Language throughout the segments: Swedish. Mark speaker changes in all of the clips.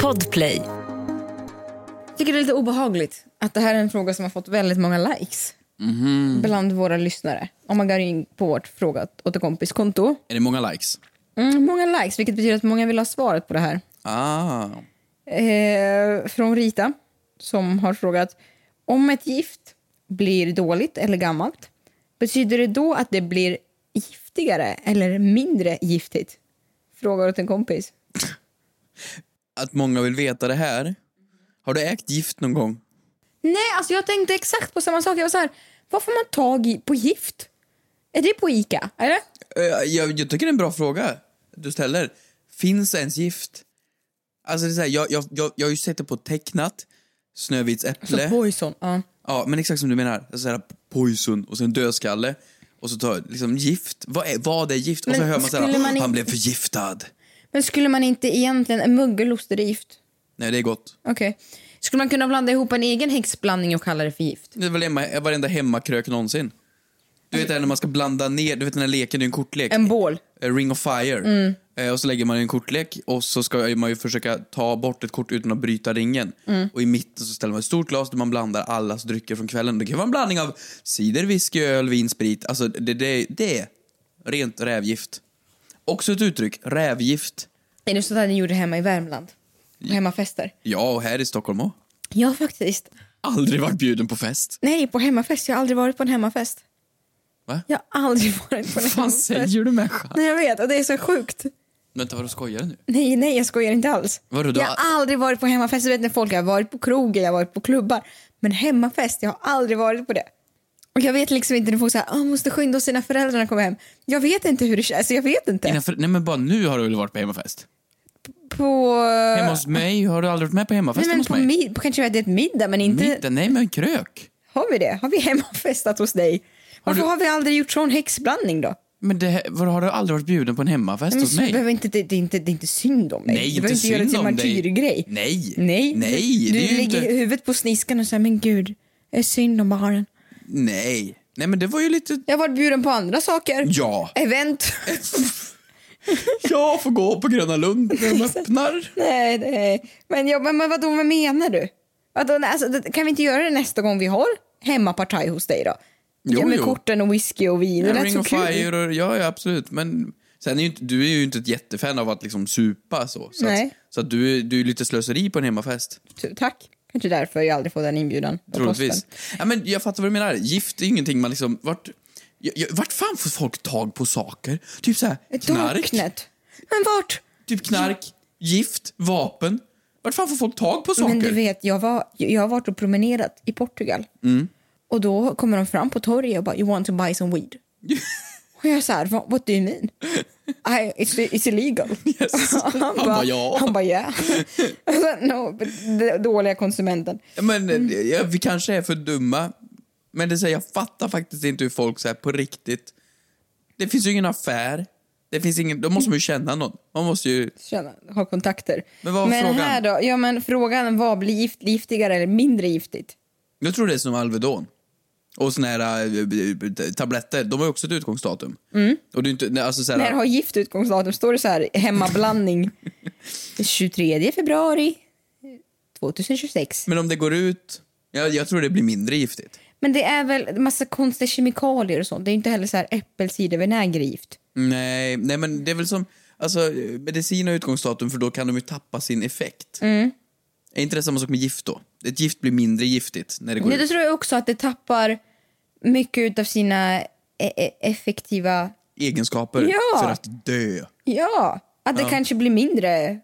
Speaker 1: Podplay.
Speaker 2: Jag tycker det är lite obehagligt att det här är en fråga som har fått väldigt många likes bland våra lyssnare. Om man går in på vårt Fråga åt en kompis konto.
Speaker 3: Är det många likes?
Speaker 2: Mm, många likes, vilket betyder att många vill ha svaret på det här.
Speaker 3: Ah.
Speaker 2: Eh, från Rita som har frågat om ett gift blir dåligt eller gammalt. Betyder det då att det blir giftigare eller mindre giftigt? Frågar åt en kompis.
Speaker 3: Att många vill veta det här. Har du ägt gift någon gång?
Speaker 2: Nej, alltså jag tänkte exakt på samma sak. Jag var så här, vad får man tag i på gift? Är det på Ica? Eller? Alltså,
Speaker 3: Eh, Jag, jag tycker det är en bra fråga du ställer. Finns ens gift? Alltså det är så här, jag, jag, jag, jag har ju sett det på tecknat, Snövits äpple.
Speaker 2: Så Poison. Ja.
Speaker 3: Ja, men exakt som du menar. Alltså Så här, poison och sen dödskalle. Och så tar liksom gift. Vad är, vad är gift? Och så
Speaker 2: Men
Speaker 3: hör man så här,
Speaker 2: skulle man
Speaker 3: han
Speaker 2: inte-
Speaker 3: blev förgiftad.
Speaker 2: Men skulle man inte egentligen... en Mögelost, är det gift?
Speaker 3: Nej, det är gott.
Speaker 2: Okej. Skulle man kunna blanda ihop en egen häxblandning och kalla det för gift?
Speaker 3: Det är väl hemma, varenda hemmakrök någonsin. Du vet det här när man ska blanda ner, du vet den här leken, det är en kortlek.
Speaker 2: En bål?
Speaker 3: Eh, Ring of Fire. Eh, Och så lägger man en kortlek och så ska man ju försöka ta bort ett kort utan att bryta ringen. Och i mitten så ställer man ett stort glas där man blandar allas drycker från kvällen. Det kan vara en blandning av cider, whisky, öl, vin, sprit. Alltså det, det, det är rent rävgift. Också ett uttryck, rävgift.
Speaker 2: Är det sånt här ni gjorde hemma i Värmland? På hemmafester?
Speaker 3: Ja, och här i Stockholm också.
Speaker 2: Ja, faktiskt.
Speaker 3: Aldrig varit bjuden på fest.
Speaker 2: Nej, på hemmafest. Jag har aldrig varit på en hemmafest.
Speaker 3: Va?
Speaker 2: Jag har aldrig varit på en
Speaker 3: Vad
Speaker 2: hemmafest.
Speaker 3: säger du människa?
Speaker 2: Nej, jag vet. Och det är så sjukt.
Speaker 3: Vänta, vadå skojar du nu?
Speaker 2: Nej, nej, jag skojar inte alls.
Speaker 3: Vadå, du
Speaker 2: jag
Speaker 3: har-
Speaker 2: har aldrig varit på hemmafest. Jag vet när folk jag har varit på krogen, jag har varit på klubbar. Men hemmafest, jag har aldrig varit på det. Och jag vet liksom inte när folk säger att måste skynda oss sina föräldrar kommer hem. Jag vet inte hur det känns, alltså, jag vet inte.
Speaker 3: Innanför, nej men bara nu har du väl varit på hemmafest?
Speaker 2: På...
Speaker 3: Hemma hos mig? Har du aldrig varit med på
Speaker 2: nej,
Speaker 3: hemmafesten
Speaker 2: men
Speaker 3: hos
Speaker 2: på
Speaker 3: mig?
Speaker 2: mid... på kanske vi hade ett middag men inte...
Speaker 3: Mitten? Nej men krök.
Speaker 2: Har vi det? Har vi hemmafestat hos dig? Varför
Speaker 3: du-
Speaker 2: har vi aldrig gjort sån häxblandning då?
Speaker 3: Men det, här- vadå, har du aldrig varit bjuden på en hemmafest
Speaker 2: Men
Speaker 3: hos
Speaker 2: så
Speaker 3: mig?
Speaker 2: behöver inte, det, det, är inte, det är inte synd om dig.
Speaker 3: Nej,
Speaker 2: du behöver
Speaker 3: inte
Speaker 2: göra det
Speaker 3: synd
Speaker 2: till
Speaker 3: om dig.
Speaker 2: martyrgrej.
Speaker 3: Nej.
Speaker 2: Nej,
Speaker 3: Nej,
Speaker 2: du,
Speaker 3: det är
Speaker 2: du
Speaker 3: ju
Speaker 2: lägger
Speaker 3: inte-
Speaker 2: huvudet på sniskan och säger men gud, det är synd om barnen.
Speaker 3: Nej. Nej men det var ju lite...
Speaker 2: Jag har varit bjuden på andra saker.
Speaker 3: Ja.
Speaker 2: Event.
Speaker 3: Jag får gå på Gröna Lund när de öppnar.
Speaker 2: nej, nej. Men, jag, men, men vadå, vad menar du? Vadå, nej, alltså, det- kan vi inte göra det nästa gång vi har hemmapartaj hos dig då?
Speaker 3: Jo,
Speaker 2: ja, med
Speaker 3: jo.
Speaker 2: korten och whisky och vin. Det lät
Speaker 3: Ring
Speaker 2: så
Speaker 3: of
Speaker 2: kul.
Speaker 3: Fire och... Ja, ja absolut. Men sen är ju inte, du är ju inte ett jättefan av att liksom supa så. Så,
Speaker 2: Nej.
Speaker 3: Att, så att du, är- du är lite slöseri på en hemmafest.
Speaker 2: T- Tack. Kanske därför jag aldrig får den inbjudan. på
Speaker 3: Troligtvis.
Speaker 2: posten.
Speaker 3: Ja, men jag fattar vad du menar. Gift är ingenting man liksom... Vart, jag, jag, vart fan får folk tag på saker? Typ så här,
Speaker 2: Ett
Speaker 3: knark.
Speaker 2: Darknet. Men vart?
Speaker 3: Typ knark, gift, vapen. Vart fan får folk tag på saker?
Speaker 2: Men du vet, jag, var, jag har varit och promenerat i Portugal.
Speaker 3: Mm.
Speaker 2: Och då kommer de fram på torget och bara, you want to buy some weed? och jag är så här, what, what do you mean? I, it's, it's illegal.
Speaker 3: Yes.
Speaker 2: han
Speaker 3: Han bara, ja.
Speaker 2: Han bara, yeah. Alltså, no, but d- dåliga konsumenten.
Speaker 3: Ja, Men, eh,
Speaker 2: Mm.
Speaker 3: ja, vi kanske är för dumma. Men det säger, jag fattar faktiskt inte hur folk så här, på riktigt... Det finns ju ingen affär. Det finns ingen, då måste man ju känna någon. Man måste ju...
Speaker 2: Tjena, har kontakter.
Speaker 3: Men vad var frågan?
Speaker 2: här då, ja men frågan var, blir gift, giftigare eller mindre giftigt?
Speaker 3: Jag tror det är som Alvedon. Och såna här eh, tabletter, de har ju också ett utgångsdatum.
Speaker 2: Mm.
Speaker 3: Och det är inte, nej, alltså, så här,
Speaker 2: När har gift utgångsdatum? Står det så här, hemmablandning 23 februari 2026.
Speaker 3: Men om det går ut... Jag, jag tror det blir mindre giftigt.
Speaker 2: Men det är väl massa konstiga kemikalier och sånt. Det är ju inte heller så här äppelcidervinäger är gift.
Speaker 3: Nej, nej men det är väl som... Alltså, medicin har utgångsdatum för då kan de ju tappa sin effekt.
Speaker 2: Mm.
Speaker 3: Är inte det samma sak med gift då? Ett gift blir mindre giftigt när det går
Speaker 2: Men
Speaker 3: ut.
Speaker 2: då tror jag också att det tappar mycket av sina e- e- effektiva...
Speaker 3: Egenskaper
Speaker 2: Ja.
Speaker 3: för att dö.
Speaker 2: Ja, att det kanske blir mindre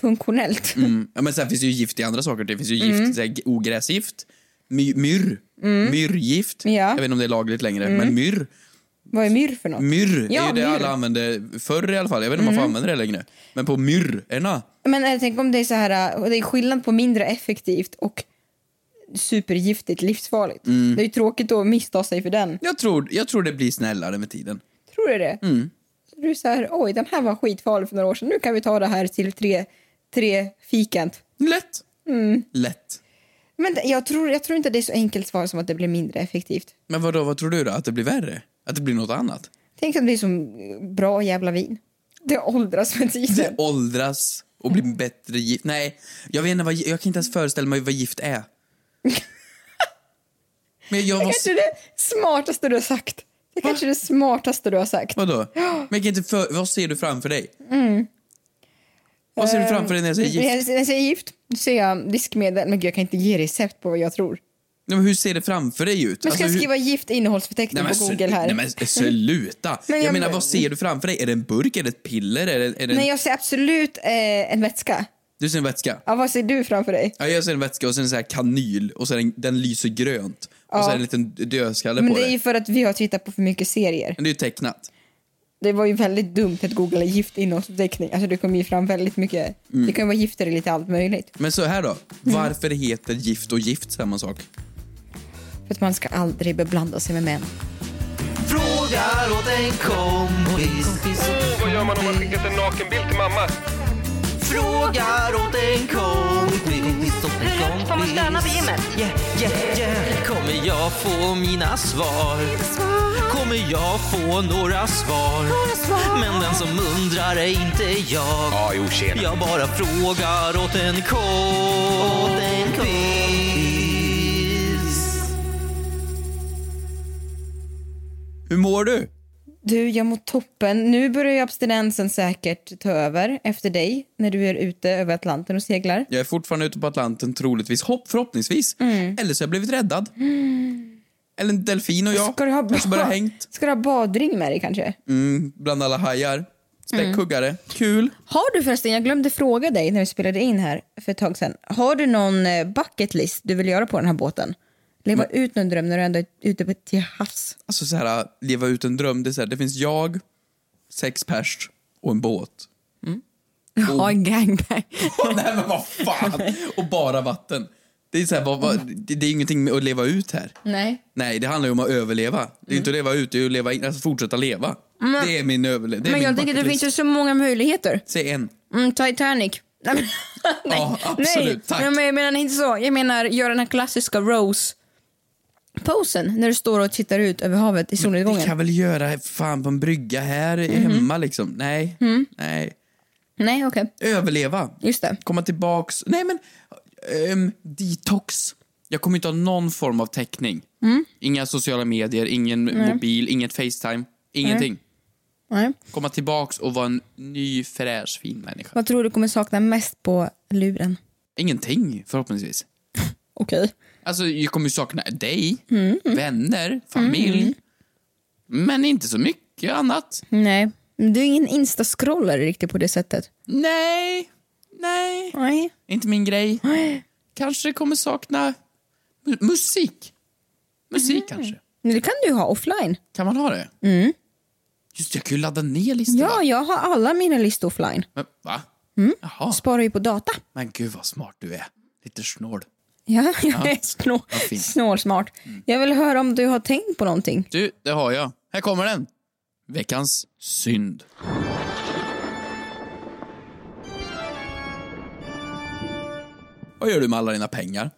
Speaker 2: funktionellt.
Speaker 3: Mm. Ja, men sen finns det ju gift i andra saker. Det finns ju gift,
Speaker 2: Mm.
Speaker 3: så här, ogräsgift, my, myrr, myrrgift.
Speaker 2: Ja.
Speaker 3: Jag vet inte om det är lagligt längre, men myrr.
Speaker 2: Vad är myrr för något?
Speaker 3: Myrr
Speaker 2: Ja,
Speaker 3: är ju det
Speaker 2: myrr. Mm.
Speaker 3: alla använde förr i alla fall. Jag vet inte om man får använda det längre. Men på myrrorna,
Speaker 2: Men jag tänker om det är så här, och det är skillnad på mindre effektivt och supergiftigt, livsfarligt.
Speaker 3: Mm.
Speaker 2: Det är ju tråkigt att missta sig för den.
Speaker 3: jag tror, jag tror det blir snällare med tiden.
Speaker 2: Tror du det?
Speaker 3: Mm.
Speaker 2: Så du är så här, oj den här var skitfarlig för några år sedan, nu kan vi ta det här till tre, tre fikant.
Speaker 3: Lätt.
Speaker 2: Mm.
Speaker 3: Lätt.
Speaker 2: Men det- jag tror, jag tror inte det är så enkelt svar som att det blir mindre effektivt.
Speaker 3: Men vadå, vad tror du då? Att det blir värre? Att det blir något annat?
Speaker 2: Tänk om det är som eh, bra jävla vin. Det åldras med
Speaker 3: Det
Speaker 2: tiden.
Speaker 3: åldras Och bli bättre gift. Nej, jag vet inte vad, jag kan inte ens föreställa mig vad gift är. Men jag
Speaker 2: Det
Speaker 3: var...
Speaker 2: kanske är det smartaste du har sagt. Det kanske är det smartaste du har sagt.
Speaker 3: Vadå? Men jag kan inte för... Vad ser du framför dig?
Speaker 2: Mm.
Speaker 3: Vad ser du framför dig när jag säger gift?
Speaker 2: Ehm, När jag säger gift då ser jag diskmedel. Men gud, jag kan inte ge recept på vad jag tror.
Speaker 3: Nej, men hur ser det framför dig ut?
Speaker 2: Men ska
Speaker 3: Alltså,
Speaker 2: jag
Speaker 3: hur-
Speaker 2: skriva gift innehållsförteckning
Speaker 3: men
Speaker 2: på Google
Speaker 3: sl-
Speaker 2: här?
Speaker 3: Nej, men alltså, sluta!
Speaker 2: Men
Speaker 3: jag,
Speaker 2: jag-
Speaker 3: menar, vad ser du framför dig? Är det en burk? Är det ett piller? Är det, är det en...
Speaker 2: Nej, jag ser absolut eh, en vätska.
Speaker 3: Du ser en vätska?
Speaker 2: Ja, vad ser du framför dig?
Speaker 3: Ja, jag ser en vätska och sen en sån här kanyl och sen den lyser grönt. Och sen en liten dödskalle
Speaker 2: Men
Speaker 3: på
Speaker 2: det
Speaker 3: det.
Speaker 2: är ju för att vi har tittat på för mycket serier.
Speaker 3: Men det är ju tecknat.
Speaker 2: Det var ju väldigt dumt att googla gift innehållsförteckning. Alltså det kom ju fram väldigt mycket.
Speaker 3: Mm.
Speaker 2: Det kan ju vara gifter i lite allt möjligt.
Speaker 3: Men så här då.
Speaker 2: Mm.
Speaker 3: Varför heter gift och gift samma sak?
Speaker 2: För att man ska aldrig beblanda sig med män.
Speaker 1: Frågar åt en kompis.
Speaker 4: Åh, vad gör man om man skickat en nakenbild till mamma?
Speaker 1: Frågar åt en kompis.
Speaker 5: Hur högt får man stöna vid gymmet?
Speaker 1: Yeah, yeah, yeah. Kommer jag få mina svar? Kommer jag få några svar? Men den som undrar är inte jag.
Speaker 4: Ja, jo, tjena.
Speaker 1: Jag bara frågar åt en kompis.
Speaker 3: Hur mår du?
Speaker 2: Du, jag mår toppen. Nu börjar ju abstinensen säkert ta över efter dig när du är ute över Atlanten och seglar.
Speaker 3: Jag är fortfarande ute på Atlanten, troligtvis. Hopp, förhoppningsvis.
Speaker 2: Mm.
Speaker 3: Eller så har jag blivit räddad. Eller en delfin och jag.
Speaker 2: Ska du ha,
Speaker 3: Kanske bara
Speaker 2: bad-
Speaker 3: hängt
Speaker 2: Ska du ha badring med dig kanske?
Speaker 3: mm, bland alla hajar.
Speaker 2: Mm.
Speaker 3: Späckhuggare. Kul.
Speaker 2: Har du förresten, jag glömde fråga dig när vi spelade in här för ett tag sedan. Har du någon eh, bucket list du vill göra på den här båten? Leva ut någon dröm när du ändå är ute på till havs.
Speaker 3: Alltså så här, leva ut en dröm. Det, är så här, det finns jag, sex pers och en båt. Oh.
Speaker 2: Ha en gangbang.
Speaker 3: Nej men vad fan! Och bara vatten. Det är, så här, vad, vad, det, det är ingenting med att leva ut här.
Speaker 2: Nej.
Speaker 3: Nej, det handlar ju om att överleva. Det är inte att leva ut, det är att leva in, alltså fortsätta leva. Det är min överlevnad.
Speaker 2: Men jag tänker det finns ju så många möjligheter.
Speaker 3: Säg en.
Speaker 2: Mm, Titanic. Nej, men- nej,
Speaker 3: Ja, absolut.
Speaker 2: nej.
Speaker 3: Tack.
Speaker 2: Nej, men jag menar inte så. Jag menar gör den här klassiska Rose-posen när du står och tittar ut över havet i
Speaker 3: Vi
Speaker 2: solnedgången.
Speaker 3: kan väl göra fan på en brygga här
Speaker 2: Mhm.
Speaker 3: hemma liksom. Nej,
Speaker 2: Mm.
Speaker 3: nej.
Speaker 2: Nej, okej.
Speaker 3: Överleva.
Speaker 2: Just det.
Speaker 3: Komma tillbaks. Nej men, ehm, detox. Jag kommer inte ha någon form av täckning.
Speaker 2: Mm.
Speaker 3: Inga sociala medier, ingen mobil, inget Facetime, ingenting.
Speaker 2: Nej.
Speaker 3: Komma tillbaks och vara en ny fräsch fin människa.
Speaker 2: Vad tror du kommer sakna mest på luren?
Speaker 3: Ingenting förhoppningsvis.
Speaker 2: Okej.
Speaker 3: Alltså jag kommer ju sakna dig,
Speaker 2: Mm.
Speaker 3: vänner, familj. Men inte så mycket annat.
Speaker 2: Nej. Men Du är ingen instascrollare riktigt på det sättet.
Speaker 3: Nej, nej.
Speaker 2: Nej.
Speaker 3: Inte min grej. Kanske kommer sakna mu- musik. Musik
Speaker 2: Mm.
Speaker 3: kanske.
Speaker 2: Men det kan du ju ha offline.
Speaker 3: Kan man ha det? Just det, jag kan ju ladda ner listor.
Speaker 2: Mm. Ja, Mm.
Speaker 3: va?
Speaker 2: jag har alla mina listor offline.
Speaker 3: Men, va? Jaha.
Speaker 2: Sparar ju på data.
Speaker 3: Men gud vad smart du är. Lite snål.
Speaker 2: Ja, jag är snål,
Speaker 3: fint. Mm.
Speaker 2: snålsmart. Jag vill höra om du har tänkt på någonting.
Speaker 3: Du, det har jag. Här kommer den. Veckans synd. Vad gör du med alla dina pengar?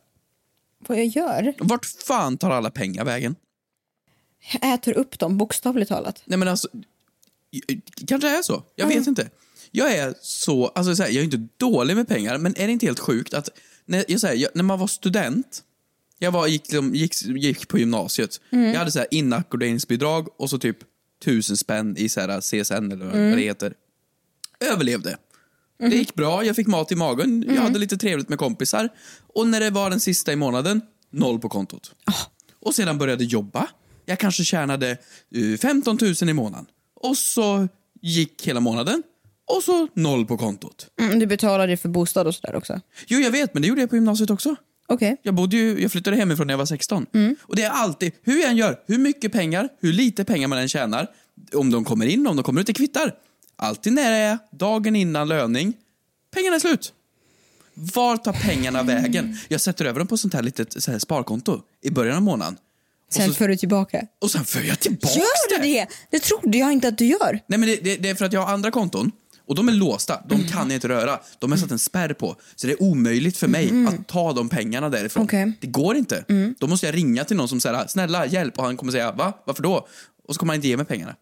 Speaker 2: Vad jag gör?
Speaker 3: Vart fan tar alla pengar vägen?
Speaker 2: Jag äter upp dem, bokstavligt talat.
Speaker 3: Nej men alltså, kanske är så. Jag vet inte. Jag är så, alltså så här, jag är inte dålig med pengar, men är det inte helt sjukt att när, jag, så här, jag, när man var student, jag var, gick, liksom- gick, gick på gymnasiet, jag hade så här inackorderingsbidrag och så typ tusen spänn i så här CSN eller vad det heter. Överlevde. Det gick bra, jag fick mat i magen, jag hade lite trevligt med kompisar och när det var den sista i månaden, noll på kontot och sedan började jobba. Jag kanske tjänade eh, 15 000 i månaden. Och så gick hela månaden och så noll på kontot.
Speaker 2: Mm, du betalade för bostad och sådär också.
Speaker 3: Jo, jag vet, men det gjorde jag på gymnasiet också.
Speaker 2: Okej.
Speaker 3: Jag, bodde ju, jag flyttade hemifrån när jag var 16. Och det är alltid, hur jag än gör, hur mycket pengar, hur lite pengar man än tjänar, om de kommer in, om de kommer ut, det kvittar. Alltid när det är dagen innan löning, pengarna är slut. Var tar pengarna vägen? Jag sätter över dem på sånt här litet så här, sparkonto i början av månaden.
Speaker 2: Sen
Speaker 3: och, så,
Speaker 2: för du tillbaka.
Speaker 3: och sen för jag tillbaka
Speaker 2: Gör du det? Det trodde jag inte att du gör.
Speaker 3: Nej, men det, det, det är för att jag har andra konton och de är låsta.
Speaker 2: Mm.
Speaker 3: De kan jag inte röra. De har satt en spärr på. Så det är omöjligt för mig att ta de pengarna därifrån.
Speaker 2: Mm. Okej. Mm.
Speaker 3: Det går inte. Då måste jag ringa
Speaker 2: Mm-hmm.
Speaker 3: till någon som säger snälla hjälp och han kommer säga va? Varför då? Och så kommer han inte ge mig pengarna.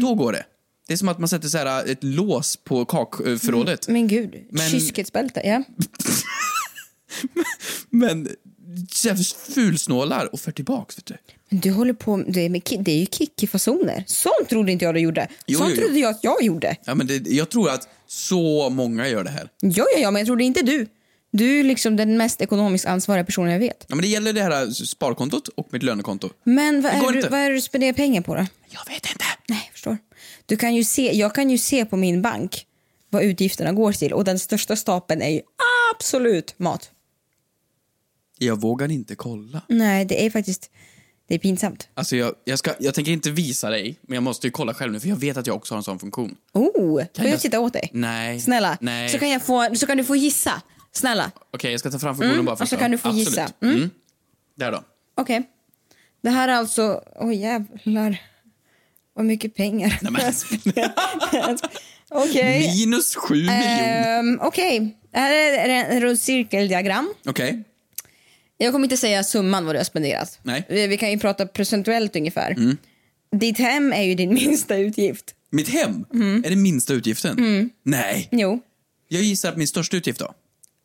Speaker 3: Då går det. Det är som att man sätter så här, eh, ett lås på kakförrådet.
Speaker 2: Men gud,
Speaker 3: Men-
Speaker 2: kyskhetsbälte. Ja. Mm.
Speaker 3: Men jävligt fulsnålar och för tillbaks. Vet du.
Speaker 2: Men du håller på det är, med, ki- det är ju kickifasoner. Sånt trodde inte jag du gjorde.
Speaker 3: Jo,
Speaker 2: Sånt
Speaker 3: jo, jo.
Speaker 2: trodde jag att jag gjorde.
Speaker 3: Ja, men det, jag tror att så många gör det här.
Speaker 2: Ja, ja, ja, men jag trodde inte du. Du är liksom den mest ekonomiskt ansvariga personen jag vet.
Speaker 3: Ja, men det gäller det här sparkontot och mitt lönekonto.
Speaker 2: Men vad
Speaker 3: Det går
Speaker 2: är, du,
Speaker 3: inte.
Speaker 2: vad är det du spenderar pengar på då?
Speaker 3: Jag vet inte.
Speaker 2: Nej, jag förstår. Du kan ju se, jag kan ju se på min bank vad utgifterna går till och den största stapeln är ju absolut mat.
Speaker 3: Jag vågar inte kolla.
Speaker 2: Nej, det är faktiskt det är pinsamt.
Speaker 3: Alltså, jag, jag, ska, jag tänker inte visa dig, men jag måste ju kolla själv nu för jag vet att jag också har en sån funktion.
Speaker 2: Oh, får
Speaker 3: jag-
Speaker 2: jag titta åt dig?
Speaker 3: Nej.
Speaker 2: Snälla,
Speaker 3: Nej.
Speaker 2: Så, kan jag få, så kan du få gissa. Snälla,
Speaker 3: Okej, jag ska ta fram funktionen
Speaker 2: Mm,
Speaker 3: bara
Speaker 2: och så
Speaker 3: först. då.
Speaker 2: kan du få
Speaker 3: Absolut.
Speaker 2: gissa.
Speaker 3: Mm. Där då.
Speaker 2: okej. Det här är alltså, åh jävlar. Vad mycket pengar.
Speaker 3: Nej, men.
Speaker 2: Okej,
Speaker 3: Minus sju miljoner.
Speaker 2: Ehm, okej. Det här är en runt cirkeldiagram.
Speaker 3: Okej.
Speaker 2: Jag kommer inte säga summan vad du har spenderat.
Speaker 3: Nej. Mm.
Speaker 2: Vi, vi kan ju prata procentuellt ungefär. Ditt hem är ju din minsta utgift.
Speaker 3: Mitt hem
Speaker 2: Mm.
Speaker 3: är den minsta utgiften. Nej.
Speaker 2: Jo.
Speaker 3: Jag gissar att min största utgift då?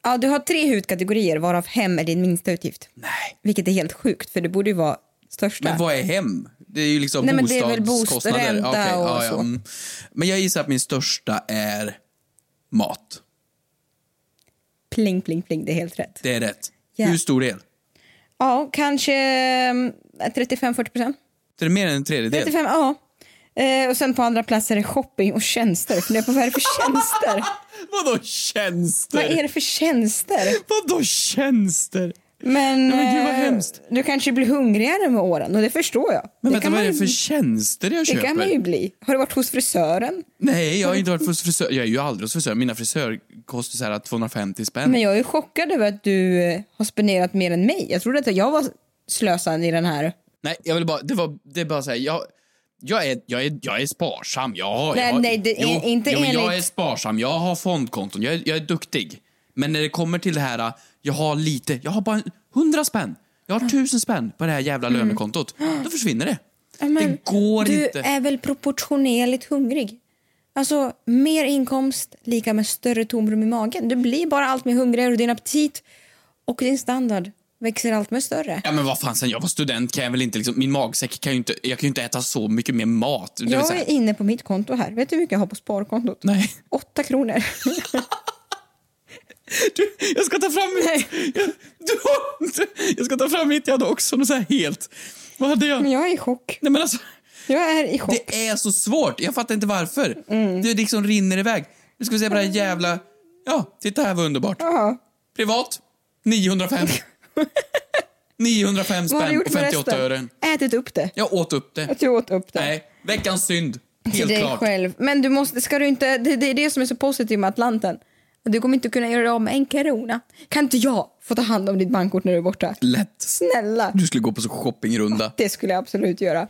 Speaker 2: Ja, du har tre hudkategorier varav hem är din minsta utgift.
Speaker 3: Nej.
Speaker 2: Vilket är helt sjukt för det borde ju vara största.
Speaker 3: Men vad är hem? Det är ju liksom
Speaker 2: Nej, men det är väl
Speaker 3: bostadskostnader.
Speaker 2: bostränta
Speaker 3: Okej,
Speaker 2: och
Speaker 3: ja, ja,
Speaker 2: så.
Speaker 3: mm. Men jag gissar att min största är mat.
Speaker 2: Pling, pling, pling, det är helt rätt.
Speaker 3: Det är rätt.
Speaker 2: Ja.
Speaker 3: Hur stor del?
Speaker 2: Ja, kanske mm, 35-40 procent.
Speaker 3: Det är mer än en tredjedel.
Speaker 2: 35, ja. Eh, och sen på andra plats är det shopping och tjänster. Fundera på vad är det för tjänster?
Speaker 3: Vadå tjänster?
Speaker 2: vad är det för tjänster?
Speaker 3: Vadå tjänster?
Speaker 2: Men,
Speaker 3: men gud, vad
Speaker 2: eh,
Speaker 3: hemskt.
Speaker 2: du kanske blir hungrigare med åren och det förstår jag.
Speaker 3: Men
Speaker 2: det
Speaker 3: vänta,
Speaker 2: kan
Speaker 3: vad är
Speaker 2: man
Speaker 3: det
Speaker 2: ju-
Speaker 3: för tjänster jag
Speaker 2: Det
Speaker 3: köper?
Speaker 2: kan man ju bli. Har du varit hos frisören?
Speaker 3: Nej, jag har inte varit hos frisör. Jag är ju aldrig hos frisör. Mina frisör kostar så här 250 spänn.
Speaker 2: Men jag är chockad över att du eh, har spenderat mer än mig. Jag trodde att jag var slösande i den här.
Speaker 3: Nej, jag vill bara, det var, det är bara så här, jag, jag, är, jag, är, jag är sparsam. Jag har,
Speaker 2: Nej,
Speaker 3: jag har,
Speaker 2: nej, det är inte
Speaker 3: jo, men Jag är
Speaker 2: enligt-
Speaker 3: sparsam, jag har fondkonton, jag är, jag är duktig. Men när det kommer till det här, jag har lite, jag har bara hundra spänn. Jag har tusen spänn på det här jävla lönekontot. Då försvinner det. det går
Speaker 2: Mm. du
Speaker 3: inte.
Speaker 2: är väl proportionerligt hungrig? Alltså, mer inkomst lika med större tomrum i magen. Du blir bara allt mer hungrigare och din aptit och din standard växer allt mer större.
Speaker 3: Ja men vad fan, sen jag var student kan jag väl inte liksom, min magsäck kan ju inte, jag kan ju inte äta så mycket mer mat. Det vill
Speaker 2: Jag
Speaker 3: säga-
Speaker 2: är inne på mitt konto här. Vet du hur mycket jag har på sparkontot?
Speaker 3: Nej.
Speaker 2: Åtta kronor.
Speaker 3: Du, jag ska ta fram mitt. Jag, du har inte. Jag ska ta fram mitt jag hade också. Något så här helt. Vad hade jag?
Speaker 2: Men jag är i chock.
Speaker 3: Nej men alltså.
Speaker 2: Jag är i chock.
Speaker 3: Det är så svårt. Jag fattar inte varför.
Speaker 2: Mm.
Speaker 3: Det liksom rinner iväg. Nu ska vi se på det här jävla... Ja, titta här vad underbart.
Speaker 2: Ja.
Speaker 3: Privat. 905. 905
Speaker 2: Vad har
Speaker 3: spänn
Speaker 2: du gjort
Speaker 3: och
Speaker 2: med
Speaker 3: 58
Speaker 2: resten?
Speaker 3: ören.
Speaker 2: Ätit upp det.
Speaker 3: Jag åt upp det.
Speaker 2: Att du åt upp det.
Speaker 3: Nej, veckans synd.
Speaker 2: till
Speaker 3: Helt
Speaker 2: dig
Speaker 3: klart.
Speaker 2: själv. Men du måste, ska du inte, det, det är det som är så positivt med Atlanten. Du kommer inte kunna göra dig av med en krona. Kan inte jag få ta hand om ditt bankkort när du är borta?
Speaker 3: Lätt.
Speaker 2: Snälla!
Speaker 3: Du skulle gå på så shoppingrunda.
Speaker 2: Det skulle jag absolut göra.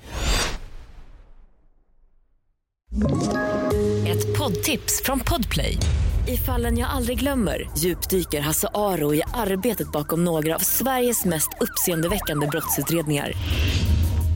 Speaker 6: Ett poddtips från Podplay. I fallen jag aldrig glömmer djupdyker Hasse Aro i arbetet bakom några av Sveriges mest uppseendeväckande brottsutredningar.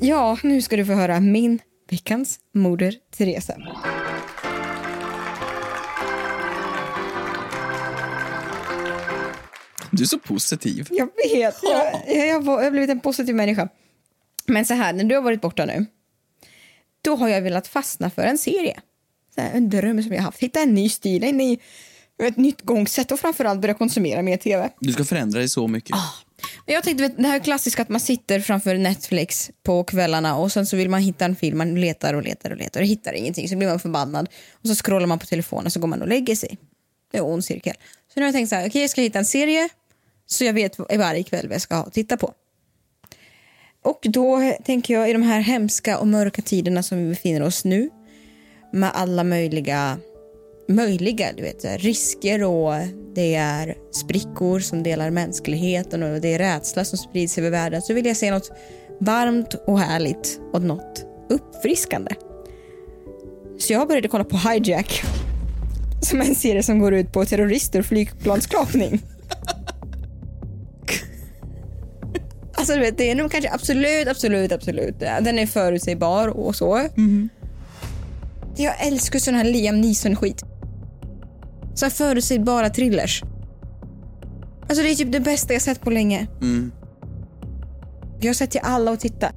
Speaker 2: Ja, nu ska du få höra min veckans moder Teresa.
Speaker 3: Du är så positiv.
Speaker 2: Jag vet, jag, jag, jag, var, jag har blivit en positiv människa. Men så här, när du har varit borta nu, då har jag velat fastna för en serie. Så här, en dröm som jag haft. Hitta en ny stil, en ny, ett nytt gångsätt och framförallt börja konsumera mer tv.
Speaker 3: Du ska förändra dig så mycket.
Speaker 2: Ah. Men Jag tänkte, vet, det här är klassiskt att man sitter framför Netflix på kvällarna och sen så vill man hitta en film, man letar och letar och letar och hittar ingenting, så blir man förbannad och så scrollar man på telefonen så går man och lägger sig. Det är en ond cirkel. Så nu har jag tänkt så här, okej jag ska hitta en serie så jag vet varje kväll vad jag ska ha att titta på. Och då tänker jag i de här hemska och mörka tiderna som vi befinner oss nu med alla möjliga, möjliga du vet, så här, risker och det är sprickor som delar mänskligheten och det är rädsla som sprids över världen så vill jag se något varmt och härligt och något uppfriskande. Så jag började kolla på Hijack som är en serie som går ut på terrorister och flygplanskapning. Alltså du vet, det är nog kanske absolut, absolut, absolut. Den är förutsägbar och så. Jag älskar sån här Liam Neeson-skit. Så här förutsägbara thrillers. Alltså det är typ det bästa jag sett på länge.
Speaker 3: Mm.
Speaker 2: Jag har sett till alla och titta.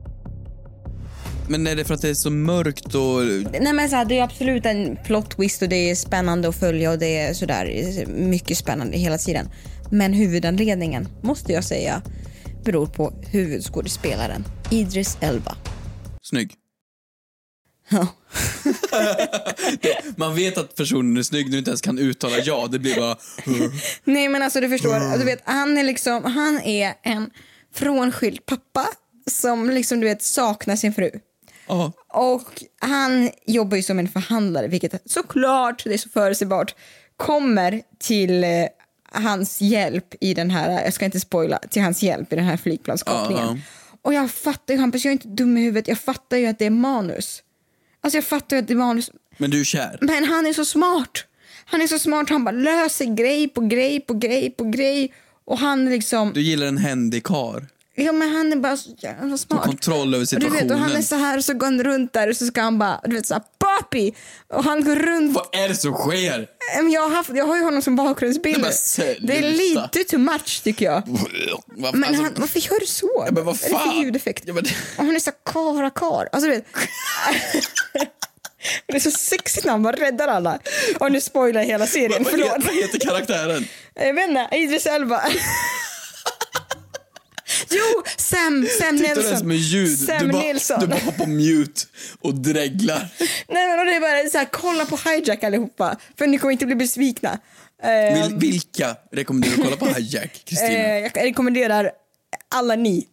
Speaker 3: Men är det för att det är så mörkt och... eh,
Speaker 2: Nej men så här, det är absolut en plot twist och det är spännande att följa och det är sådär mycket spännande hela tiden. Men huvudanledningen måste jag säga beror på huvudskådespelaren Idris Elba.
Speaker 3: Snygg.
Speaker 2: Ja.
Speaker 3: Man vet att personen är snygg när du inte ens kan uttala ja. Det blir bara...
Speaker 2: Nej men alltså du förstår, du vet, han är liksom, han är en frånskild pappa som liksom du vet saknar sin fru.
Speaker 3: Ja.
Speaker 2: Och han jobbar ju som en förhandlare vilket såklart, det är så förutsägbart, kommer till eh, hans hjälp i den här, jag ska inte spoila, till hans hjälp i den här flygplanskapningen.
Speaker 3: Ja, ja.
Speaker 2: Och jag fattar ju Hampus, jag är inte dum i huvudet, jag fattar ju att det är manus. Alltså jag fattar ju att det är manus,
Speaker 3: Men du är kär.
Speaker 2: men han är så smart. Han är så smart, han bara löser grej på grej på grej på grej. Och han liksom,
Speaker 3: Du gillar en händig karl.
Speaker 2: ja men han är bara så jävla smart.
Speaker 3: Kontroll över
Speaker 2: Och du
Speaker 3: situationen.
Speaker 2: vet, och han är så här så går han runt där och så ska han bara, du vet så här, papi! Och han går runt.
Speaker 3: Vad är det som sker?
Speaker 2: Äm, Jag har, haft, jag har ju honom som bakgrundsbild.
Speaker 3: Nej, men sluta.
Speaker 2: Det är lite too much tycker jag.
Speaker 3: Vad fan
Speaker 2: Men
Speaker 3: som-
Speaker 2: han, varför gör du så?
Speaker 3: Alltså, Ja, men vad
Speaker 2: Är det
Speaker 3: fan?
Speaker 2: för ljudeffekt?
Speaker 3: Ja, men-
Speaker 2: Och han är så här, kara kar. Alltså du vet. det är så sexigt när han bara räddar alla. Och nu spoilar jag hela serien,
Speaker 3: Vad heter- Vad
Speaker 2: förlåt.
Speaker 3: heter karaktären?
Speaker 2: Jag vet inte, Idris Elba. Jo, Sam,
Speaker 3: Tittar
Speaker 2: Sam
Speaker 3: du ens
Speaker 2: Nelson.
Speaker 3: med ljud?
Speaker 2: Sam
Speaker 3: Du bara,
Speaker 2: Nilsson.
Speaker 3: du bara har på mute och dreglar.
Speaker 2: Nej men och det är bara så här, kolla på Hijack allihopa för ni kommer inte bli besvikna. Eh,
Speaker 3: Vil, vilka rekommenderar du att kolla på Hijack,
Speaker 2: eh,
Speaker 3: Kristina?
Speaker 2: jag rekommenderar alla ni,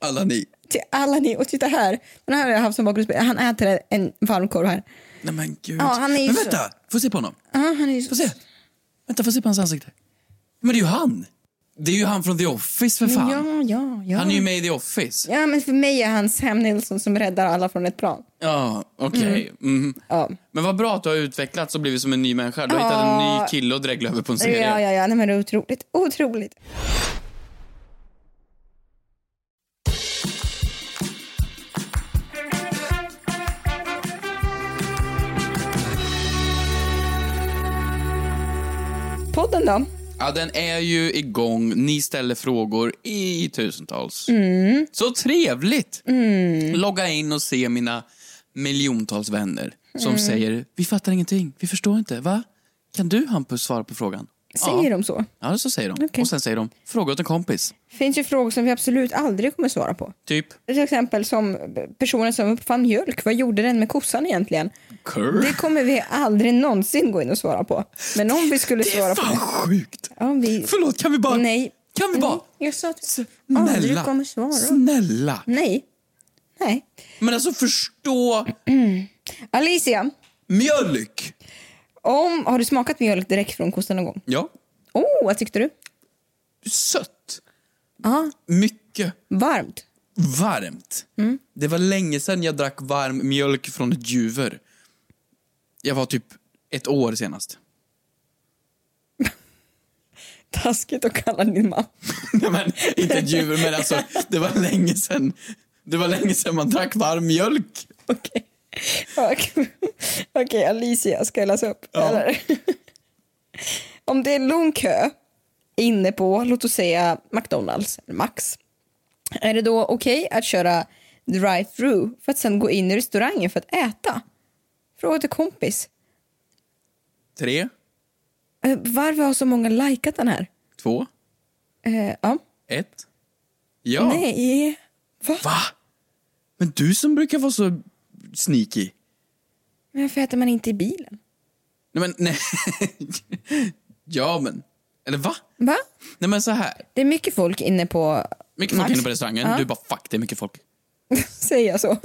Speaker 3: Alla ni.
Speaker 2: till alla ni och titta här, den här har jag haft som bakgrundsbild, han äter en varmkorv här.
Speaker 3: Nej men gud.
Speaker 2: Ja, han är ju
Speaker 3: men
Speaker 2: så-
Speaker 3: vänta, få se på honom.
Speaker 2: Ja, han är ju
Speaker 3: Få
Speaker 2: så...
Speaker 3: se. Vänta, få se på hans ansikte. Men det är ju han. Det är ju han från The Office för fan.
Speaker 2: Ja, ja, ja.
Speaker 3: Han är ju med i The Office.
Speaker 2: Ja men för mig är han Sam Nilsson som räddar alla från ett plan.
Speaker 3: Ja, okej.
Speaker 2: Mm.
Speaker 3: Mhm.
Speaker 2: Ja.
Speaker 3: Men vad bra att du har utvecklats och blivit som en ny människa. Du har hittat en ny kille att dregla över på en serie.
Speaker 2: Ja, ja, ja, nej men det är otroligt, otroligt. Podden då?
Speaker 3: Ja, den är ju igång. Ni ställer frågor i tusentals.
Speaker 2: Mm.
Speaker 3: Så trevligt! Logga in och se mina miljontals vänner som
Speaker 2: Mm.
Speaker 3: säger vi fattar ingenting, vi förstår inte. Va? Kan du Hampus svara på frågan?
Speaker 2: Säger
Speaker 3: ja.
Speaker 2: de så?
Speaker 3: Ja, så säger de.
Speaker 2: Okej.
Speaker 3: Och sen säger de fråga åt en kompis.
Speaker 2: Finns ju frågor som vi absolut aldrig kommer svara på.
Speaker 3: Typ
Speaker 2: Till exempel som personen som uppfann mjölk, vad gjorde den med kossan egentligen?
Speaker 3: curl.
Speaker 2: Det kommer vi aldrig någonsin gå in och svara på. Men om vi skulle
Speaker 3: Det är
Speaker 2: svara på
Speaker 3: fan
Speaker 2: det.
Speaker 3: sjukt!
Speaker 2: Ja, vi...
Speaker 3: Förlåt, kan vi bara...
Speaker 2: Nej.
Speaker 3: Kan vi bara...
Speaker 2: Nej, Mm, jag sa att
Speaker 3: Snälla.
Speaker 2: aldrig kommer svara. Mm.
Speaker 3: Snälla.
Speaker 2: Nej. Nej.
Speaker 3: Men alltså förstå
Speaker 2: Alicia,
Speaker 3: mjölk.
Speaker 2: om, har du smakat mjölk direkt från kossan någon gång?
Speaker 3: Ja.
Speaker 2: Oh, vad tyckte du?
Speaker 3: Sött.
Speaker 2: Ja,
Speaker 3: Mycket.
Speaker 2: varmt.
Speaker 3: varmt.
Speaker 2: Mm.
Speaker 3: Det var länge sedan jag drack varm mjölk från ett juver. Jag var typ ett år senast.
Speaker 2: Taskigt att kalla din mamma.
Speaker 3: Nej, men, inte ett juver, men alltså det var länge sedan. Det var länge sedan man drack varm mjölk.
Speaker 2: Okej. Okej, Okej, Alicia ska jag läsa upp. Eller? Om det är lång kö inne på, låt oss säga McDonalds, eller Max. Är det då okej att köra drive-through för att sen gå in i restaurangen för att äta? Fråga till kompis.
Speaker 3: Tre,
Speaker 2: Eh, Varför har så många likat den här?
Speaker 3: två,
Speaker 2: Eh, ja.
Speaker 3: ett. Ja.
Speaker 2: Nej. Va?
Speaker 3: Va? Men du som brukar vara så sneaky.
Speaker 2: Men Varför äter man inte i bilen?
Speaker 3: Nej, men nej. ja, men. Eller va?
Speaker 2: Va?
Speaker 3: Nej, men så här.
Speaker 2: Det är mycket folk inne på...
Speaker 3: Mycket folk
Speaker 2: Max.
Speaker 3: inne på restaurangen.
Speaker 2: Ja.
Speaker 3: Du bara fuck, det är mycket folk.
Speaker 2: Säger jag så?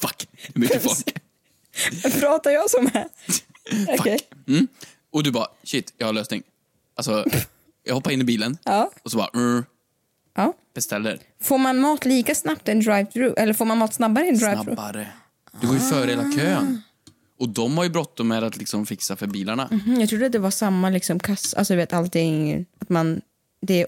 Speaker 3: Fuck, det är mycket folk.
Speaker 2: Pratar jag som här? Okej.
Speaker 3: Mm. Och du bara, shit, jag har lösning. Alltså, jag hoppar in i bilen
Speaker 2: Ja.
Speaker 3: och så bara, mm,
Speaker 2: ja.
Speaker 3: beställer.
Speaker 2: Får man mat lika snabbt i en drive-thru? Eller får man mat snabbare i en drive-thru?
Speaker 3: Snabbare. Du går ju före hela kön. Och de har ju bråttom med att liksom fixa för bilarna.
Speaker 2: Mm, Jag trodde att det var samma liksom kass, alltså du vet allting, att man, det, är-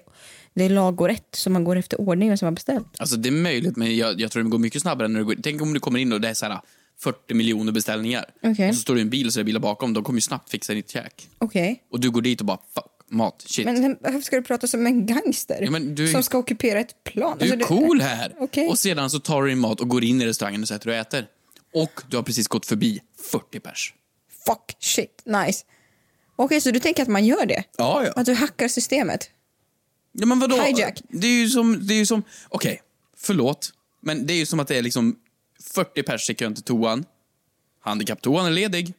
Speaker 2: det är lag och rätt, så man går efter ordningen som man beställt.
Speaker 3: Alltså det är möjligt, men jag, jag tror det går mycket snabbare när du går Tänk om du kommer in och det är så här 40 miljoner beställningar.
Speaker 2: Okej.
Speaker 3: Och så står det en bil och så är det bilar bakom. De kommer ju snabbt fixa ditt käk.
Speaker 2: Okej.
Speaker 3: Och du går dit och bara, fuck, mat, shit.
Speaker 2: Men vem- varför ska du prata som en gangster
Speaker 3: Ja, men du-
Speaker 2: som ska ockupera ett plan?
Speaker 3: Du är
Speaker 2: Alltså, det-
Speaker 3: cool här!
Speaker 2: Okej.
Speaker 3: Och sedan så tar du din mat och går in i restaurangen och sätter dig och äter. Och du har precis gått förbi 40 pers.
Speaker 2: Fuck, shit, nice. Okej, så du tänker att man gör det?
Speaker 3: Ja, ja.
Speaker 2: Att du hackar systemet?
Speaker 3: Ja, men vadå?
Speaker 2: Hijack.
Speaker 3: Det är ju som... Det är ju som Okej, förlåt. Men det är ju som att det är liksom 40 pers i kön till toan. Handikapptoan är ledig.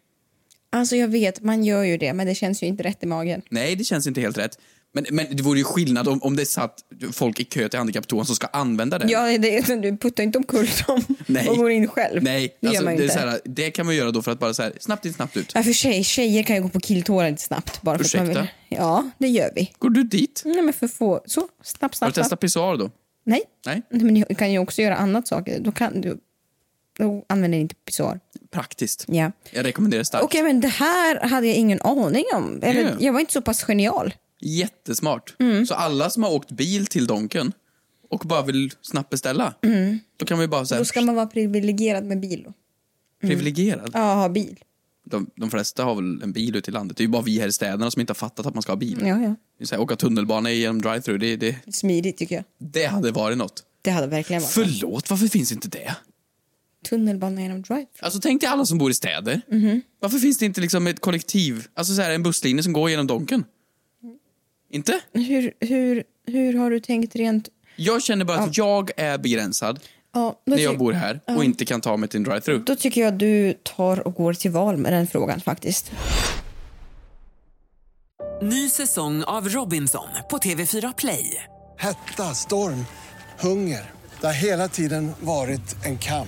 Speaker 2: Alltså jag vet, man gör ju det, men det känns ju inte rätt i magen.
Speaker 3: Nej, det känns inte helt rätt. Men, men det vore ju skillnad om, om det satt folk i kö till handikapptoan som ska använda den.
Speaker 2: Ja, det, är- du puttar inte omkull dem
Speaker 3: Nej.
Speaker 2: och går in själv.
Speaker 3: Nej,
Speaker 2: det
Speaker 3: alltså,
Speaker 2: gör man ju
Speaker 3: det, är
Speaker 2: inte.
Speaker 3: så här, det kan man göra då för att bara så här, snabbt in, snabbt ut.
Speaker 2: Ja, för sig, tjejer kan ju gå på killtårar lite snabbt. Bara för Att man
Speaker 3: Ursäkta?
Speaker 2: vill. Ja, det gör vi.
Speaker 3: Går du dit?
Speaker 2: Nej, men för få. Så, snabbt,
Speaker 3: Har du
Speaker 2: snabbt.
Speaker 3: testat
Speaker 2: snabbt.
Speaker 3: pissoar då?
Speaker 2: Nej.
Speaker 3: Nej?
Speaker 2: Nej, men du kan ju också göra annat saker. Då, kan du, då använder du inte pissoar.
Speaker 3: Praktiskt.
Speaker 2: Ja.
Speaker 3: Jag rekommenderar starkt.
Speaker 2: Okej, men det här hade jag ingen aning om. Eller,
Speaker 3: Ja.
Speaker 2: Jag var inte så pass genial.
Speaker 3: Jättesmart.
Speaker 2: Mm.
Speaker 3: Så alla som har åkt bil till Donken och bara vill snabbt beställa, då kan vi bara säga
Speaker 2: Mm. Då ska man vara privilegierad med bil. Då.
Speaker 3: privilegierad.
Speaker 2: Ja, ha bil.
Speaker 3: De, de flesta har väl en bil ute i landet. Det är ju bara vi här i städerna som inte har fattat att man ska ha bil.
Speaker 2: Ja, ja.
Speaker 3: Det är Så här, åka tunnelbana genom drive-thru, det, det,
Speaker 2: Smidigt tycker jag.
Speaker 3: det hade varit något.
Speaker 2: Det hade verkligen varit.
Speaker 3: Förlåt, varför finns inte det?
Speaker 2: Tunnelbana genom drive
Speaker 3: Alltså tänk dig alla som bor i städer.
Speaker 2: Mm-hmm.
Speaker 3: Varför finns det inte liksom ett kollektiv, alltså så här, en busslinje som går genom Donken? Inte?
Speaker 2: hur, hur, hur har du tänkt rent...
Speaker 3: Jag känner bara att jag är begränsad
Speaker 2: Ja, då
Speaker 3: när jag
Speaker 2: ty-
Speaker 3: bor här och inte kan ta mig till en drive-thru.
Speaker 2: Då tycker jag du tar och går till val med den frågan faktiskt.
Speaker 7: Ny säsong av Robinson på TV4 Play.
Speaker 8: Hetta, storm, hunger. Det har hela tiden varit en kamp.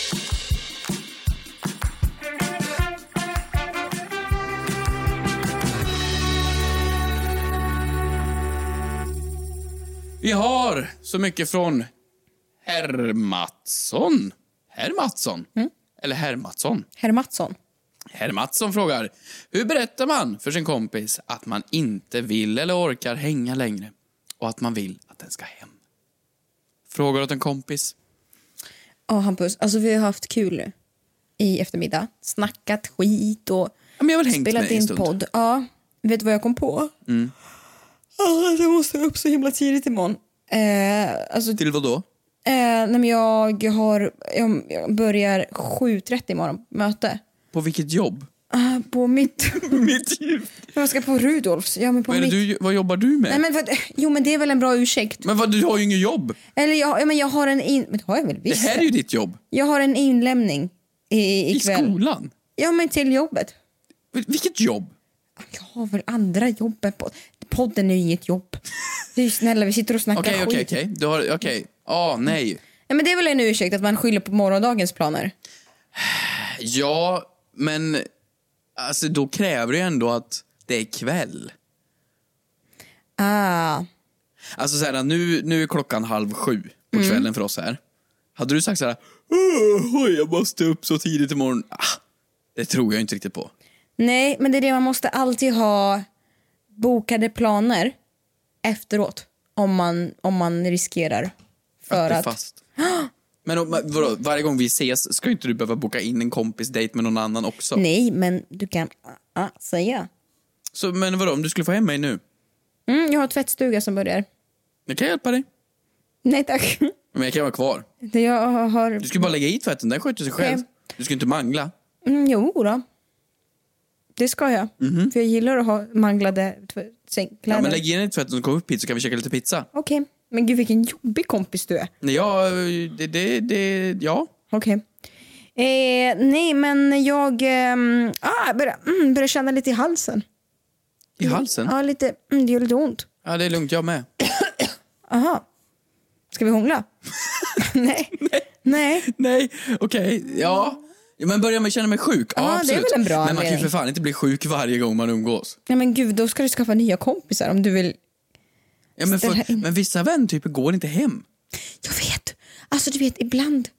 Speaker 3: Vi har så mycket från herr Mattsson. Herr Mattsson?
Speaker 2: Mm.
Speaker 3: Eller herr Mattsson.
Speaker 2: Herr Mattsson.
Speaker 3: Herr Mattsson frågar. Hur berättar man för sin kompis att man inte vill eller orkar hänga längre och att man vill att den ska hem? Frågar åt en kompis.
Speaker 2: Ja, Hampus, alltså vi har haft kul i eftermiddag. Snackat skit och
Speaker 3: Ja, men jag har väl hängt med
Speaker 2: spelat
Speaker 3: dig en
Speaker 2: in
Speaker 3: stund.
Speaker 2: podd. Ja, vet du vad jag kom på? Mm. jag måste upp så himla tidigt imorgon. Eh, alltså,
Speaker 3: Till vad då?
Speaker 2: eh, nej, men jag, har, jag, jag börjar 7.30 imorgon, möte.
Speaker 3: På vilket jobb?
Speaker 2: Ah, på mitt...
Speaker 3: Mitt jobb?
Speaker 2: jag ska på Rudolfs. Ja, men på
Speaker 3: Vad, är det
Speaker 2: mitt...
Speaker 3: du, vad jobbar du med?
Speaker 2: Nej, men, vad- jo, men det är väl en bra ursäkt.
Speaker 3: Men vad, du har ju inget jobb.
Speaker 2: Eller jag, ja, men jag har en... In... Men det har jag väl
Speaker 3: Det
Speaker 2: visst.
Speaker 3: här är ju ditt jobb.
Speaker 2: Jag har en inlämning i,
Speaker 3: I
Speaker 2: ikväll.
Speaker 3: skolan.
Speaker 2: Ja, men till jobbet.
Speaker 3: Vil- Vilket jobb?
Speaker 2: Jag har väl andra jobb än podd. Podden är ju inget jobb. Det är ju snälla, vi sitter och snackar
Speaker 3: Okej,
Speaker 2: skit.
Speaker 3: okej, okej. Du har... Okej. Ah, nej.
Speaker 2: Ja, men det är väl en ursäkt att man skyller på morgondagens planer.
Speaker 3: Ja, men alltså, då kräver det ju ändå att det är kväll.
Speaker 2: Ah,
Speaker 3: Alltså så här, nu, nu är klockan halv sju på
Speaker 2: Mm.
Speaker 3: kvällen för oss här. Hade du sagt så här, "Åh, oj, jag måste upp så tidigt imorgon. Ah, det tror jag inte riktigt på.
Speaker 2: nej, men det är det man måste alltid ha bokade planer efteråt om man, om man riskerar för
Speaker 3: bli
Speaker 2: att,
Speaker 3: fast. Men om- men vadå, varje gång vi ses ska ju inte du behöva boka in en kompisdejt med någon annan också.
Speaker 2: Nej, men du kan ah, ah, säga.
Speaker 3: Så, men vadå, om du skulle få hem mig nu?
Speaker 2: Mm, jag har tvättstuga som börjar.
Speaker 3: Jag kan hjälpa dig.
Speaker 2: Nej tack.
Speaker 3: Men jag kan vara kvar.
Speaker 2: Det Jag har...
Speaker 3: Du ska bara lägga i tvätten, den sköter sig själv.
Speaker 2: Nej.
Speaker 3: Du ska inte mangla.
Speaker 2: Mm, jo då. Det ska jag. För jag gillar att ha manglade tv- sängkläder.
Speaker 3: Mhm. Ja, men lägg in den i tvätten och kom upp hit så kan vi käka lite pizza.
Speaker 2: Okej. Men gud vilken jobbig kompis du är.
Speaker 3: Nej, Ja, det, det, det, ja.
Speaker 2: Okej. Eh, nej men jag ehm, ah, börjar mm, börjar känna lite i halsen.
Speaker 3: I halsen?
Speaker 2: Mm. Ja lite, mm, det gör lite ont.
Speaker 3: Ja, det är lugnt, jag med.
Speaker 2: Aha. Ska vi hångla? nej. Nej.
Speaker 3: Nej, okej, ja. Ja, Men börja med att känna mig sjuk. Ja,
Speaker 2: Ja, det är
Speaker 3: absolut.
Speaker 2: väl en bra
Speaker 3: Men man kan ju för
Speaker 2: anledning.
Speaker 3: fan inte bli sjuk varje gång man umgås.
Speaker 2: Ja, men gud då ska du skaffa nya kompisar om du vill.
Speaker 3: Ja, men,
Speaker 2: Ställa
Speaker 3: för, men vissa väntyper går inte hem.
Speaker 2: Alltså du vet ibland.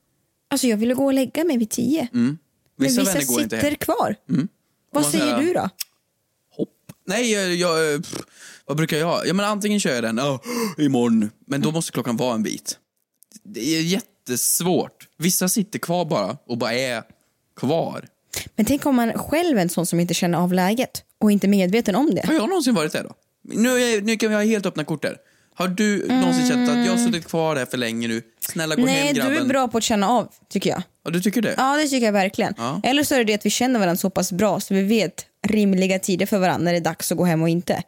Speaker 2: Alltså jag ville gå och lägga mig vid tio.
Speaker 3: Mm. Vissa,
Speaker 2: men vissa
Speaker 3: vänner går inte
Speaker 2: sitter
Speaker 3: hem.
Speaker 2: kvar.
Speaker 3: Mm.
Speaker 2: Vad
Speaker 3: man
Speaker 2: säger
Speaker 3: säger-
Speaker 2: du då?
Speaker 3: Nej, jag, jag, pff, vad brukar jag? Ja, men antingen kör jag den oh, imorgon, men
Speaker 2: Mm.
Speaker 3: då måste klockan vara en bit. Det är jättesvårt. Vissa sitter kvar bara och bara är kvar.
Speaker 2: Men tänk om man själv är en sån som inte känner av läget och inte är medveten om det.
Speaker 3: Har jag någonsin varit där då? Nu, är- nu kan vi ha helt öppna kort där. Har du någonsin känt att jag har suttit kvar där för länge nu? Snälla gå
Speaker 2: Mm. Nej,
Speaker 3: hem grabben.
Speaker 2: du är bra på att känna av tycker jag.
Speaker 3: Ja, du tycker det?
Speaker 2: Ja, det tycker jag verkligen.
Speaker 3: Ja.
Speaker 2: Eller så är det det att vi känner varandra så pass bra så vi vet rimliga tider för varandra när det är dags att gå hem och inte.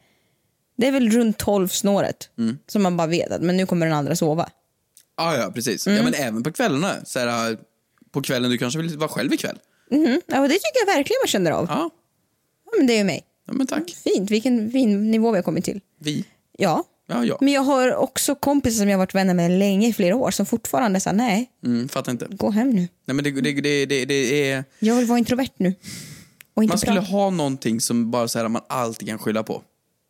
Speaker 2: Det är väl runt 12 snåret
Speaker 3: Mm.
Speaker 2: som man bara vet att men nu kommer den andra sova.
Speaker 3: Ja, ja precis. Ja,
Speaker 2: Mm.
Speaker 3: men även på kvällarna. Så här, äh, på kvällen, du kanske vill vara själv ikväll?
Speaker 2: Mhm. Ja, och det tycker jag verkligen man känner av.
Speaker 3: Ja.
Speaker 2: men det är ju mig.
Speaker 3: Ja, men tack.
Speaker 2: Fint, vilken fin nivå vi har kommit till.
Speaker 3: Vi?
Speaker 2: Ja.
Speaker 3: Ja, ja.
Speaker 2: Men jag har också kompisar som jag har varit vänner med länge i flera år som fortfarande säger nej,
Speaker 3: Mm, fattar inte.
Speaker 2: gå hem nu.
Speaker 3: Nej, men det, det, det, det, det är...
Speaker 2: Jag vill vara introvert nu. Och inte
Speaker 3: Man skulle
Speaker 2: prata.
Speaker 3: ha någonting som bara så här, man alltid kan skylla på.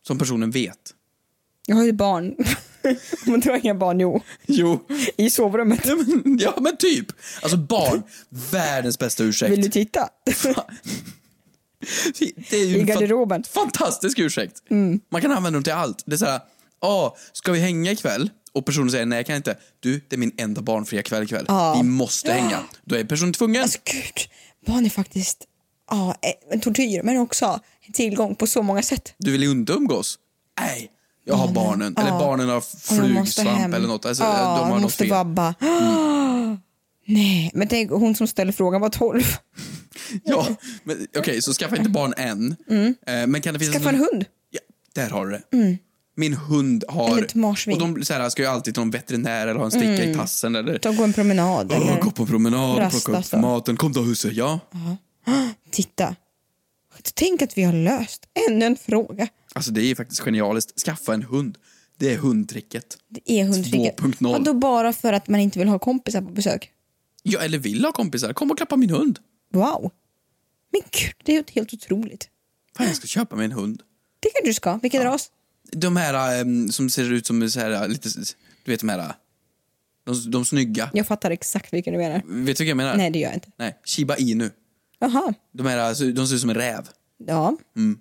Speaker 3: Som personen vet.
Speaker 2: Jag har ju barn. Men du har inga barn, jo.
Speaker 3: Jo.
Speaker 2: I sovrummet.
Speaker 3: Ja men, ja, men typ. Alltså barn, världens bästa ursäkt.
Speaker 2: Vill du titta?
Speaker 3: Det är ju
Speaker 2: I
Speaker 3: en fa-
Speaker 2: garderoben.
Speaker 3: Fantastisk ursäkt.
Speaker 2: Mm.
Speaker 3: Man kan använda dem till allt. Det är så här, "Ah, ska vi hänga ikväll? Och personen säger nej, jag kan inte. Du, det är min enda barnfria kväll ikväll.
Speaker 2: Ja. Alltså-
Speaker 3: Vi måste hänga. Då är personen tvungen.
Speaker 2: Barn är faktiskt ja, eh, en tortyr, men också en tillgång på så många sätt.
Speaker 3: Du vill ju inte umgås. Nej, jag har barnen. Eller
Speaker 2: Ja.
Speaker 3: barnen har
Speaker 2: Och de måste hem.
Speaker 3: flugsvamp eller något. Alltså,
Speaker 2: ja,
Speaker 3: de har något
Speaker 2: måste
Speaker 3: fel.
Speaker 2: vabba. Nej, men tänk hon som ställer frågan var 12.
Speaker 3: Ja, men okej, så skaffa inte barn än.
Speaker 2: Mm.
Speaker 3: Eh, Men kan det finnas
Speaker 2: Skaffa en
Speaker 3: någon-
Speaker 2: hund.
Speaker 3: Där har du det.
Speaker 2: Mm.
Speaker 3: Min hund har...
Speaker 2: Eller ett marsvin.
Speaker 3: Och de så här, ska ju alltid till någon veterinär eller ha en sticka
Speaker 2: Mm.
Speaker 3: i tassen eller...
Speaker 2: Ta och gå en promenad.
Speaker 3: Åh,
Speaker 2: eller...
Speaker 3: gå på promenad,
Speaker 2: Rasta
Speaker 3: plocka upp
Speaker 2: så.
Speaker 3: maten. Kom då husse, ja.
Speaker 2: Titta. Tänk att vi har löst ännu en fråga.
Speaker 3: Alltså det är faktiskt genialiskt. Skaffa en hund. Det är hundtricket.
Speaker 2: Det är hundtricket.
Speaker 3: 2.0.
Speaker 2: Vadå bara för att man inte vill ha kompisar på besök?
Speaker 3: Ja, eller vill ha kompisar. Kom och klappa min hund.
Speaker 2: Wow. Men gud, det är ju helt otroligt.
Speaker 3: Fan, jag ska köpa mig en hund.
Speaker 2: Det kanske du ska. Vilken ras?
Speaker 3: De här ehm, som ser ut som så här, lite... Du vet de här... De, de snygga.
Speaker 2: Jag fattar exakt vilken du menar.
Speaker 3: Vet du vad jag menar?
Speaker 2: Nej, det gör jag inte.
Speaker 3: Nej, Shiba Inu.
Speaker 2: Jaha.
Speaker 3: De, här, alltså, de ser ut som en räv.
Speaker 2: Ja.
Speaker 3: Mm.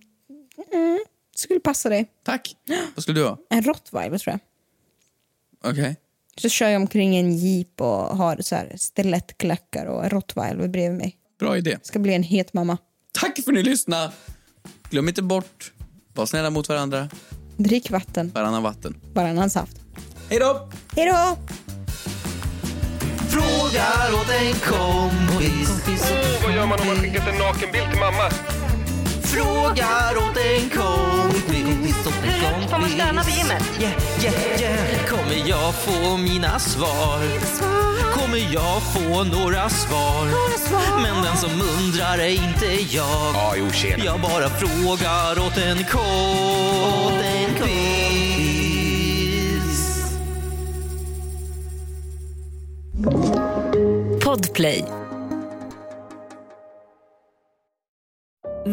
Speaker 2: Mm. Skulle passa dig.
Speaker 3: Tack. Vad skulle du ha?
Speaker 2: En rottweiler tror jag.
Speaker 3: Okej.
Speaker 2: Så kör jag omkring i en jeep och har så här stilettklackar och en rottweiler bredvid mig.
Speaker 3: Bra idé.
Speaker 2: Ska bli en het mamma.
Speaker 3: Tack för att ni lyssnade. Glöm inte bort, var snälla mot varandra,
Speaker 2: Drick vatten,
Speaker 3: varannan vatten.
Speaker 2: varannan saft.
Speaker 3: Hej då!
Speaker 2: Hej då!
Speaker 1: Frågar åt en kompis.
Speaker 4: Åh, vad gör man om man skickat en nakenbild till mamma?
Speaker 1: Frågar åt en kompis. Hur högt får man stöna på gymmet? Yeah, yeah, yeah. Kommer jag få mina svar? Kommer jag få några svar? Men den som undrar är inte jag.
Speaker 9: Ja, jo, tjena.
Speaker 1: Jag bara frågar åt en kompis.
Speaker 6: Podplay.